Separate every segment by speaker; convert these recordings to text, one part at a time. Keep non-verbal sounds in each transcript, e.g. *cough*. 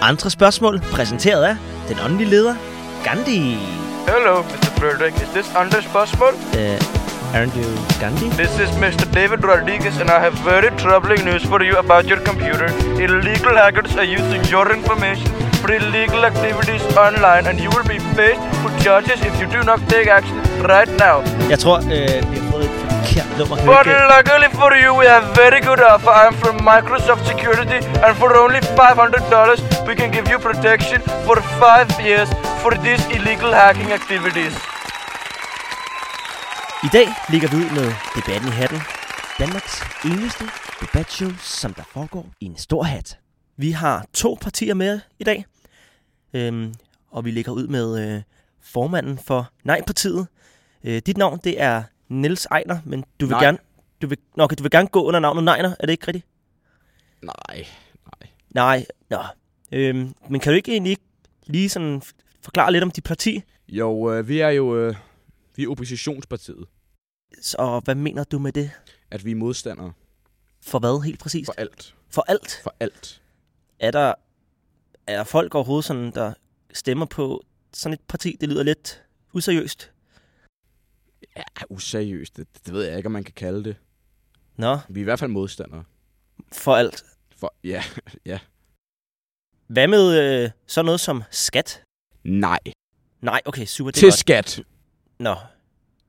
Speaker 1: Andre spørgsmål præsenteret af den åndelige leder, Gandhi.
Speaker 2: Hello, Mr. Frederick. Is this under Possible?
Speaker 1: Uh, aren't you Gandhi?
Speaker 2: This is Mr. David Rodriguez, and I have very troubling news for you about your computer. Illegal hackers are using your information for illegal activities online, and you will be faced with charges if you do not take action right now.
Speaker 1: Jeg tror, øh, vi har fået et forkert nummer.
Speaker 2: But
Speaker 1: Hvilket-
Speaker 2: luckily for you, we have very good offer. I'm from Microsoft Security, and for only $500, we can give you protection for five years for these illegal hacking activities.
Speaker 1: øh, I dag ligger vi ud med Debatten i Hatten. Danmarks eneste debatshow, som der foregår i en stor hat. Vi har to partier med i dag. Øhm, og vi ligger ud med øh, formanden for Nej-partiet. Øh, dit navn, det er Niels Ejner, men du vil
Speaker 3: Nej.
Speaker 1: gerne... Du vil, nå, okay, du vil gerne gå under navnet Nejner, er det ikke rigtigt?
Speaker 3: Nej.
Speaker 1: Nej, nå. Øhm, men kan du ikke egentlig ikke lige sådan f- forklare lidt om dit parti?
Speaker 3: Jo, øh, vi er jo øh, vi er oppositionspartiet.
Speaker 1: Og hvad mener du med det?
Speaker 3: At vi er modstandere
Speaker 1: For hvad helt præcist?
Speaker 3: for alt.
Speaker 1: For alt?
Speaker 3: For alt.
Speaker 1: er der er der folk overhovedet, sådan, der stemmer på sådan et parti? Det lyder lidt useriøst.
Speaker 3: Ja, useriøst. Det, det ved jeg ikke, om man kan kalde det.
Speaker 1: Nå,
Speaker 3: Vi er i hvert fald modstandere.
Speaker 1: for alt.
Speaker 3: For, ja,
Speaker 1: Hvad med øh, sådan noget som skat?
Speaker 3: nej.
Speaker 1: Nej, okay, super, det er
Speaker 3: Til
Speaker 1: godt.
Speaker 3: skat.
Speaker 1: Nå,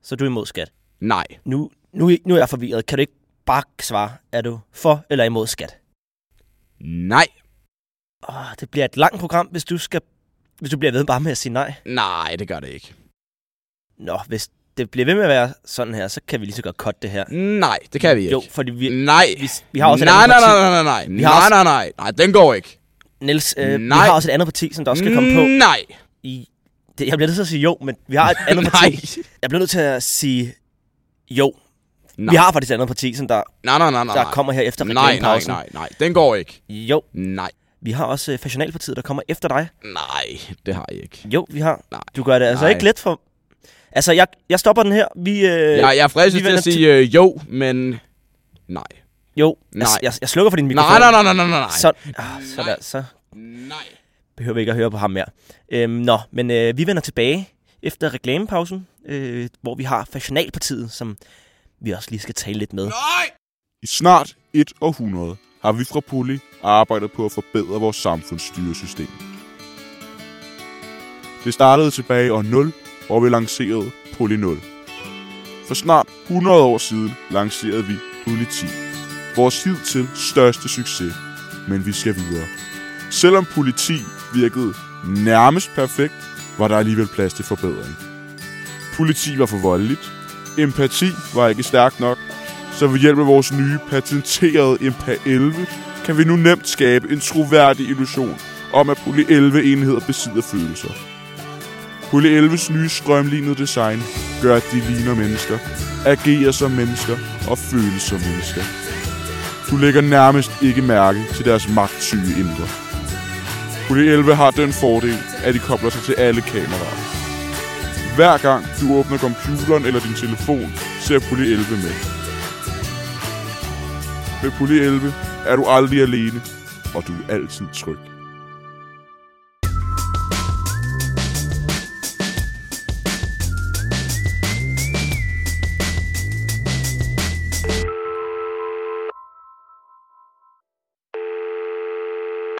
Speaker 1: så du er imod skat.
Speaker 3: Nej.
Speaker 1: Nu, nu, nu er jeg forvirret. Kan du ikke bare svare, er du for eller imod skat?
Speaker 3: Nej.
Speaker 1: Åh, det bliver et langt program, hvis du, skal, hvis du bliver ved bare med at sige nej.
Speaker 3: Nej, det gør det ikke.
Speaker 1: Nå, hvis det bliver ved med at være sådan her, så kan vi lige så godt cutte det her.
Speaker 3: Nej, det kan vi ikke.
Speaker 1: Jo, fordi vi,
Speaker 3: Nej.
Speaker 1: vi, vi har også et
Speaker 3: Mm. nej,
Speaker 1: andet
Speaker 3: nej,
Speaker 1: parti.
Speaker 3: nej, nej, nej, nej,
Speaker 1: Vi har
Speaker 3: nej, nej, nej, nej, den går ikke.
Speaker 1: Niels, øh, vi
Speaker 3: Nej. Mm.
Speaker 1: har også et andet parti, som der også skal komme på.
Speaker 3: Nej,
Speaker 1: i... Det, jeg bliver nødt til at sige jo, men vi har et
Speaker 3: *laughs*
Speaker 1: andet
Speaker 3: nej,
Speaker 1: parti. Jeg bliver nødt til at sige jo. Nej.
Speaker 3: Nej.
Speaker 1: Vi har faktisk et andet parti, som der,
Speaker 3: nej, nej, nej, nej,
Speaker 1: der kommer her efter
Speaker 3: nej, nej,
Speaker 1: reklamepausen.
Speaker 3: nej, nej, den går ikke.
Speaker 1: Jo,
Speaker 3: Nej,
Speaker 1: vi har også øh, Fashionalpartiet, der kommer efter dig.
Speaker 3: nej, det har jeg ikke.
Speaker 1: Jo, vi har.
Speaker 3: Nej.
Speaker 1: Du gør det altså
Speaker 3: Nej.
Speaker 1: ikke let for... Altså, jeg, jeg stopper den her. Vi, øh,
Speaker 3: Jeg, jeg er
Speaker 1: vi
Speaker 3: fristet til
Speaker 1: vender
Speaker 3: at sige øh, jo, men nej.
Speaker 1: Jo,
Speaker 3: Nej.
Speaker 1: Jeg, jeg, jeg slukker for din mikrofon.
Speaker 3: Nej, nej, nej, nej, nej, nej.
Speaker 1: Så, ah, så,
Speaker 3: Nej.
Speaker 1: der, så
Speaker 3: Nej.
Speaker 1: behøver vi ikke at høre på ham mere. Øhm, nå, men øh, vi vender tilbage efter reklamepausen, øh, hvor vi har Fashionalpartiet, som vi også lige skal tale lidt med.
Speaker 3: Nej!
Speaker 4: I snart et århundrede har vi fra Poli arbejdet på at forbedre vores samfundsstyresystem. Det startede tilbage i år 0, hvor vi lancerede Poli 0. For snart 100 år siden lancerede vi Poli 10. Vores hidtil største succes, men vi skal videre. Selvom Poli 10 virkede nærmest perfekt, var der alligevel plads til forbedring. Politi var for voldeligt, empati var ikke stærk nok, så ved hjælp af vores nye patenterede Impa 11, kan vi nu nemt skabe en troværdig illusion om, at Poly 11-enheder besidder følelser. Poly 11's nye strømlignede design gør, at de ligner mennesker, agerer som mennesker og føles som mennesker. Du lægger nærmest ikke mærke til deres magtsyge indre. Poly 11 har den fordel, at de kobler sig til alle kameraer. Hver gang du åbner computeren eller din telefon, ser Poly 11 med. Med Poli 11 er du aldrig alene, og du er altid tryg.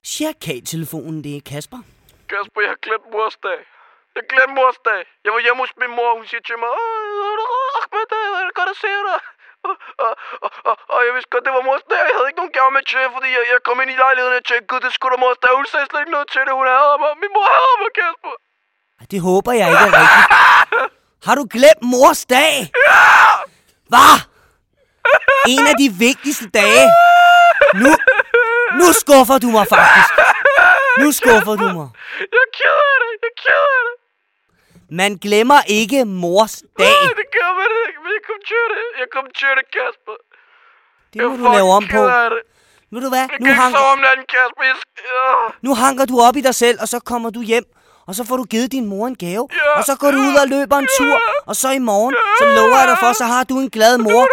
Speaker 5: Cirkaltelefonen, det er Kasper.
Speaker 2: Kasper, jeg har glemt mors dag. Jeg glemte mors dag. Jeg var hjemme hos min mor, og hun siger til mig, Åh, Ahmed, det er godt at se dig. Og, og, og, og jeg vidste godt, det var mors dag, og jeg havde ikke nogen gave med til, fordi jeg, jeg kom ind i lejligheden og jeg tænkte, gud, det skulle da mors dag. Hun sagde slet ikke noget til det, hun hader mig. Min mor hader mig, Kasper.
Speaker 5: Ej, Det håber jeg ikke er rigtigt. Har du glemt mors dag? Hvad? En af de vigtigste dage. Nu, nu skuffer du mig faktisk. Nu skuffer du mig.
Speaker 2: Jeg er ked af det, jeg er ked af det.
Speaker 5: Man glemmer ikke mors dag.
Speaker 2: Ej, det gør man ikke, men jeg kom til det. Jeg kom til det, Kasper.
Speaker 5: Det må du lave om på.
Speaker 2: Jeg er fucking ked af det.
Speaker 5: Ved du hvad?
Speaker 2: Jeg
Speaker 5: Nu
Speaker 2: kan ikke sove
Speaker 5: hanker,
Speaker 2: om natten, Kasper. Jeg skal... Åh.
Speaker 5: nu hanker du op i dig selv, og så kommer du hjem. Og så får du givet din mor en gave. Og så går du ud og løber en tur. Og så i morgen, så lover jeg dig for, så har du en glad mor.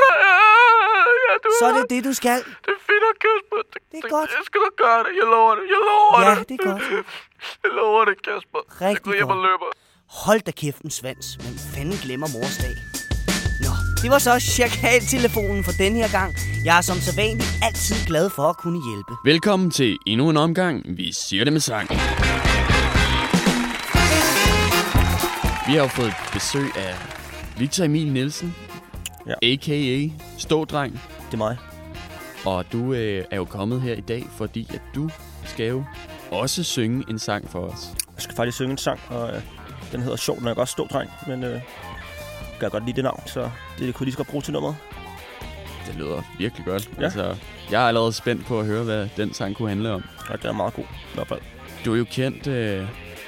Speaker 2: Jeg du
Speaker 5: så er det det, du skal.
Speaker 2: Det er fint at Kasper. Det,
Speaker 5: Det er godt.
Speaker 2: Jeg skal nok gøre det. Jeg lover det. Jeg lover
Speaker 5: Ja,
Speaker 2: det.
Speaker 5: det er godt.
Speaker 2: Jeg lover det, Kasper. jeg
Speaker 5: Rigtig
Speaker 2: går hjem og
Speaker 5: godt.
Speaker 2: løber.
Speaker 5: Hold da kæft en svans. Hvem fanden glemmer mors dag? Nå, det var så chakaltelefonen for den her gang. Jeg er som sædvanlig altid glad for at kunne hjælpe.
Speaker 3: Velkommen til endnu en omgang. Vi siger det med sang. Vi har jo fået besøg af Victor Emil Nielsen,
Speaker 1: Ja.
Speaker 3: ja. a.k.a. Stådreng.
Speaker 1: Det er mig.
Speaker 3: Og du øh, er jo kommet her i dag, fordi at du skal jo også synge en sang for os.
Speaker 1: Jeg skal faktisk synge en sang, og øh, den hedder Sjov, når jeg godt stå, dreng. Men øh, kan jeg godt lide det navn, så det kunne jeg lige så godt bruge til nummeret.
Speaker 3: Det lyder virkelig godt.
Speaker 1: Ja.
Speaker 3: Altså, jeg er allerede spændt på at høre, hvad den sang kunne handle om.
Speaker 1: Og det er meget god. I hvert fald.
Speaker 3: Du er jo kendt øh,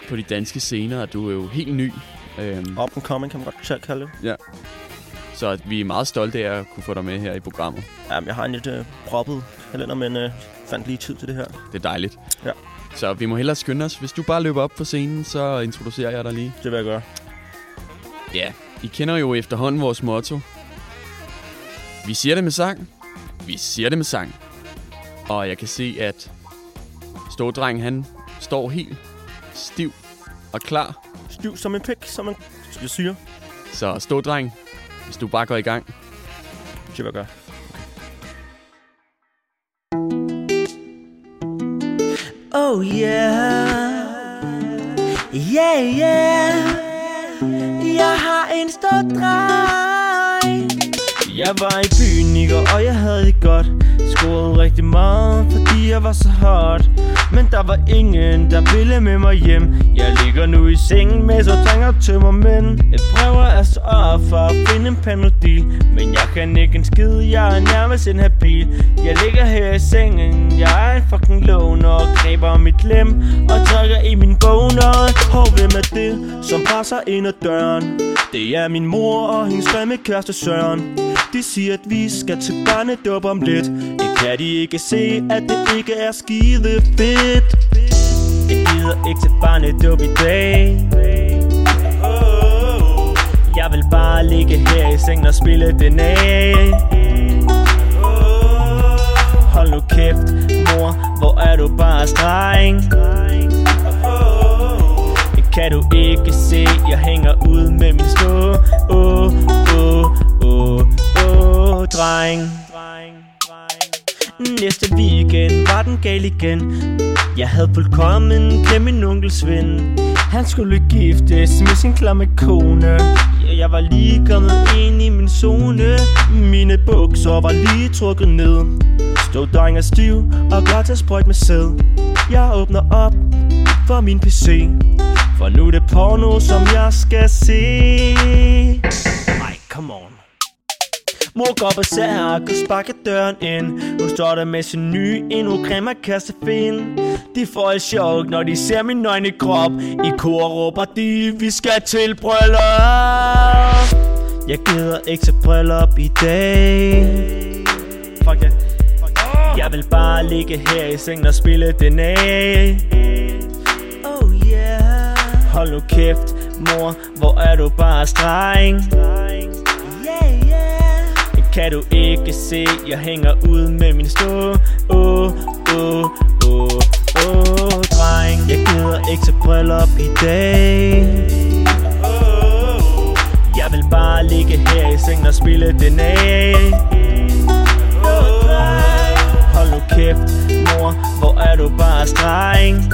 Speaker 3: på de danske scener, og du er jo helt ny. Øhm,
Speaker 1: Up and coming, kan man godt selv kalde det.
Speaker 3: Så at vi er meget stolte af at kunne få dig med her i programmet.
Speaker 1: Jamen, jeg har en lidt øh, proppet kalender, men øh, fandt lige tid til det her.
Speaker 3: Det er dejligt.
Speaker 1: Ja.
Speaker 3: Så vi må hellere skynde os. Hvis du bare løber op på scenen, så introducerer jeg dig lige.
Speaker 1: Det vil jeg gøre.
Speaker 3: Ja, I kender jo efterhånden vores motto. Vi siger det med sang. Vi siger det med sang. Og jeg kan se, at Stådreng, han står helt stiv og klar.
Speaker 1: Stiv som en pik, som en jeg siger.
Speaker 3: Så Stådreng, hvis du bare går i gang.
Speaker 1: Det vil jeg gøre.
Speaker 5: Oh yeah. Yeah, yeah. Jeg har en stor dreng.
Speaker 1: Jeg var i byen i går, og jeg havde det godt Scorede rigtig meget, fordi jeg var så hot Men der var ingen, der ville med mig hjem Jeg ligger nu i sengen med så tanker til mig men Jeg prøver at sørge altså for at finde en panodil Men jeg kan ikke en skid, jeg er nærmest en habil Jeg ligger her i sengen, jeg er en fucking loner Og kræber om mit klem og trækker i min bog noget Hov, hvem er det, som passer ind ad døren? Det er min mor og hendes grimme kæreste Søren De siger, at vi skal til barnedåb om lidt Det kan de ikke se, at det ikke er skide fedt Jeg gider ikke til barnedåb i dag Jeg vil bare ligge her i sengen og spille den af Hold nu kæft, mor, hvor er du bare streng Det kan du ikke se, jeg hænger ud med min stå Åh, åh, åh, åh, dreng Næste weekend var den gal igen Jeg havde fuldkommen glemt min onkels ven Han skulle giftes med sin klamme kone Ja, Jeg var lige kommet ind i min zone Mine bukser var lige trukket ned Stod dreng og stiv og klar til at sprøjte med sæd Jeg åbner op for min PC For nu er det porno, som jeg skal se Nej, come on Mor går på særk og sparker døren ind Hun står der med sin nye, endnu grimmere kassefin De får et chok, når de ser min nøgne krop I kor råber de, vi skal til bryllup Jeg gider ikke til bryllup i dag Fuck ja yeah. Jeg vil bare ligge her i sengen og spille den af
Speaker 5: Oh yeah.
Speaker 1: Hold nu kæft, mor, hvor er du bare streng
Speaker 5: Yeah, yeah.
Speaker 1: Kan du ikke se, jeg hænger ud med min stå Åh, åh, åh, åh, dreng Jeg gider ikke til bryllup i dag Jeg vil bare ligge her i sengen og spille den af Hold nu kæft, mor, hvor er du bare streng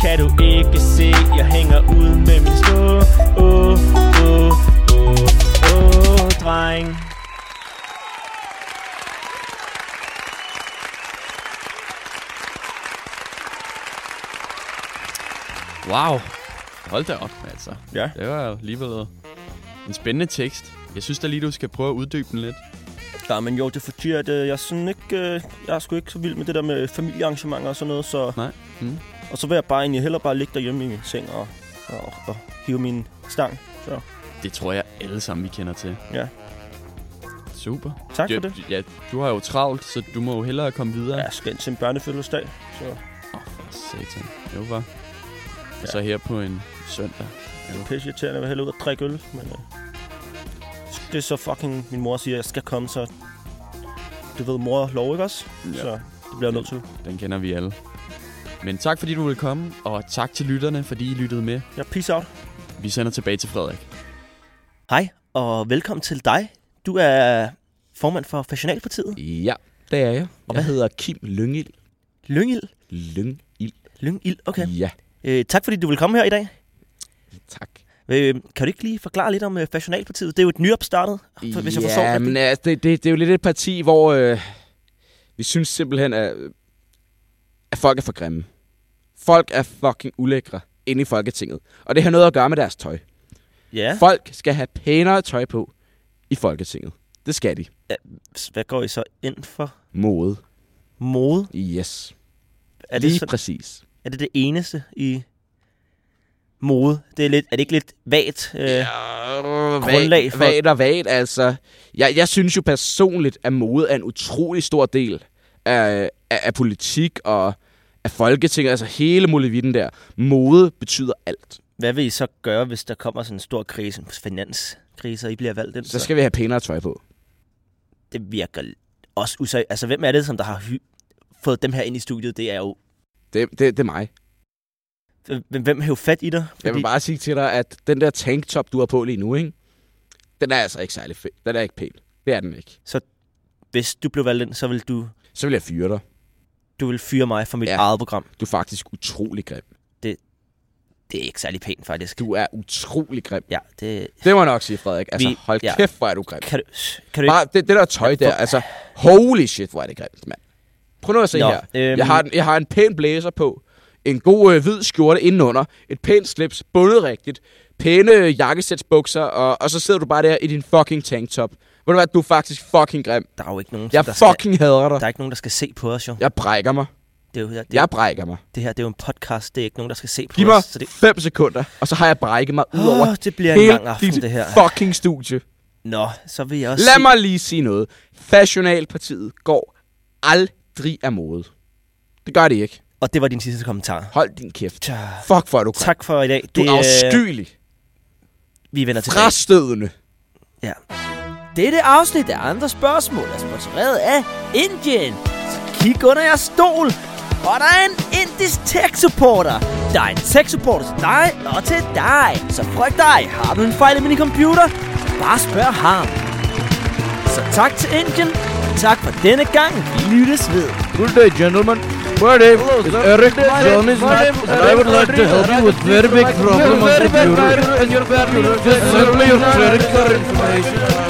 Speaker 1: Kan du ikke se, jeg hænger ud med min stå Åh, åh, åh, åh, dreng
Speaker 3: Wow! Hold da op, altså.
Speaker 1: Ja.
Speaker 3: Det var alligevel en spændende tekst. Jeg synes da lige, du skal prøve at uddybe den lidt.
Speaker 1: Ja, men jo, det er fordi, at øh, jeg, er sådan ikke, øh, jeg er sgu ikke så vild med det der med familiearrangementer og sådan noget, så...
Speaker 3: Nej. Mm.
Speaker 1: Og så vil jeg bare egentlig hellere bare ligge derhjemme i min seng og, og, og hive min stang. Så
Speaker 3: Det tror jeg alle sammen, vi kender til.
Speaker 1: Ja.
Speaker 3: Super.
Speaker 1: tak
Speaker 3: ja,
Speaker 1: for det.
Speaker 3: Ja, du har jo travlt, så du må jo hellere komme videre.
Speaker 1: Ja, jeg skal ind til en børnefødselsdag, så
Speaker 3: Åh, oh, for satan. Jo, var. Ja. Så her på en søndag.
Speaker 1: det er pisse irriterende at hellere ud og drikke øl, men... Øh, det er så fucking, min mor siger, jeg skal komme, så du ved, mor er lov, ikke også?
Speaker 3: Ja.
Speaker 1: Så det bliver jeg nødt til.
Speaker 3: Den kender vi alle. Men tak fordi du ville komme, og tak til lytterne, fordi I lyttede med.
Speaker 1: Jeg peace out.
Speaker 3: Vi sender tilbage til Frederik.
Speaker 1: Hej, og velkommen til dig. Du er formand for Fashionalpartiet.
Speaker 6: Ja, det er jeg. Og hvad hedder Kim Lyngil?
Speaker 1: Lyngild.
Speaker 6: Lyngil.
Speaker 1: Lyngild, okay.
Speaker 6: Ja,
Speaker 1: Øh, tak fordi du vil komme her i dag.
Speaker 6: tak.
Speaker 1: Øh, kan du ikke lige forklare lidt om øh, Fashionalpartiet? Det er jo et nyopstartet, for, hvis jeg forstår
Speaker 6: ja,
Speaker 1: det.
Speaker 6: men altså, det, det, det er jo lidt et parti, hvor øh, vi synes simpelthen, at, at folk er for grimme. Folk er fucking ulækre inde i Folketinget. Og det har noget at gøre med deres tøj. øh,
Speaker 1: Ja,
Speaker 6: Folk skal have pænere tøj på i Folketinget. Det skal de.
Speaker 1: hvad går I så ind for?
Speaker 6: Mode.
Speaker 1: Mode?
Speaker 6: Yes.
Speaker 1: Er det,
Speaker 6: Lige
Speaker 1: sådan,
Speaker 6: præcis.
Speaker 1: er det det eneste i mode? Det er, lidt, er det ikke lidt vagt? Øh, ja. grundlag for-
Speaker 6: for... Vagt og vagt, altså. Jeg, jeg synes jo personligt, at mode er en utrolig stor del af, af, af politik og af Folketinget. Altså hele muligheden der. Mode betyder alt.
Speaker 1: Hvad vil I så gøre, hvis der kommer sådan en stor krise, en finanskrise, og I bliver valgt ind?
Speaker 6: Så skal vi have pænere tøj på.
Speaker 1: Det virker også usag... Altså, hvem er det, som der har hy- fået dem her ind i studiet? Det er jo...
Speaker 6: Det, det, det er mig.
Speaker 1: Hvem, hvem hæv fat i dig?
Speaker 6: Jeg vil bare sige til dig, at den der tanktop, du har på lige nu, ikke? den er altså ikke særlig fed. Den er ikke pæn. Det er den ikke.
Speaker 1: Hvis du blev valgt ind, så vil du,
Speaker 6: Så vil jeg fyre dig.
Speaker 1: du vil fyre mig fra mit ja.
Speaker 6: Ja.
Speaker 1: eget program.
Speaker 6: Du er faktisk utrolig grim.
Speaker 1: Det er ikke særlig pænt, faktisk.
Speaker 6: Du er utrolig grim.
Speaker 1: Ja, det...
Speaker 6: Det må jeg nok sige, Frederik. Altså,
Speaker 1: Vi-
Speaker 6: vi, hold
Speaker 1: ja.
Speaker 6: ja. kæft, hvor er du grim.
Speaker 1: Kan du... Kan du
Speaker 6: Bare det, det der tøj der, altså, holy shit, hvor er det grimt, mand. Prøv nu at se
Speaker 1: Nå,
Speaker 6: Nå, her.
Speaker 1: øhm.
Speaker 6: Øhm... Jeg, har, en- jeg har en pæn blæser på, en god øh, hvid skjorte indenunder, et pænt slips, bundet rigtigt, pæne øh, jakkesætsbukser, og, og så sidder du bare der i din fucking tanktop. Ved du hvad, du er faktisk fucking grim.
Speaker 1: Der er jo ikke nogen,
Speaker 6: Jeg
Speaker 1: der,
Speaker 6: fucking hader
Speaker 1: skal,
Speaker 6: dig.
Speaker 1: der er ikke nogen, der skal se på os, jo.
Speaker 6: Jeg brækker mig.
Speaker 1: Det, er jo, det,
Speaker 6: Jeg brækker mig.
Speaker 1: det her det er jo en podcast, det er ikke nogen, der skal se på
Speaker 6: Giv mig
Speaker 1: os. Så det,
Speaker 6: 5 sekunder, og så har jeg brækket mig ud over
Speaker 1: Åh, det bliver en
Speaker 6: hele
Speaker 1: lang aften,
Speaker 6: dit
Speaker 1: det her.
Speaker 6: fucking studie.
Speaker 1: Nå, så vil jeg også
Speaker 6: Lad
Speaker 1: se-
Speaker 6: mig lige sige noget. Fashionalpartiet går aldrig af mode. Det gør det ikke.
Speaker 1: Og det var din sidste kommentar.
Speaker 6: Hold din kæft.
Speaker 1: Tja.
Speaker 6: Fuck, hvor er du grim.
Speaker 1: Tak for i dag.
Speaker 6: Du er
Speaker 1: øh,
Speaker 6: afskyelig.
Speaker 1: Vi vender tilbage.
Speaker 6: Frastødende.
Speaker 5: Dette afsnit af andre spørgsmål er sponsoreret af Indien. Så kig under jeres stol, og der er en indisk tech-supporter. Der er en tech-supporter til dig og til dig. Så frygt dig, har du en fejl i min computer? Så bare spørg ham. Så tak til Indien. Tak for denne gang. Vi lyttes ved.
Speaker 7: Good day, gentlemen. My name is Eric John is Matt, and I would like to help you with very big problem on the computer. Just simply your credit card information.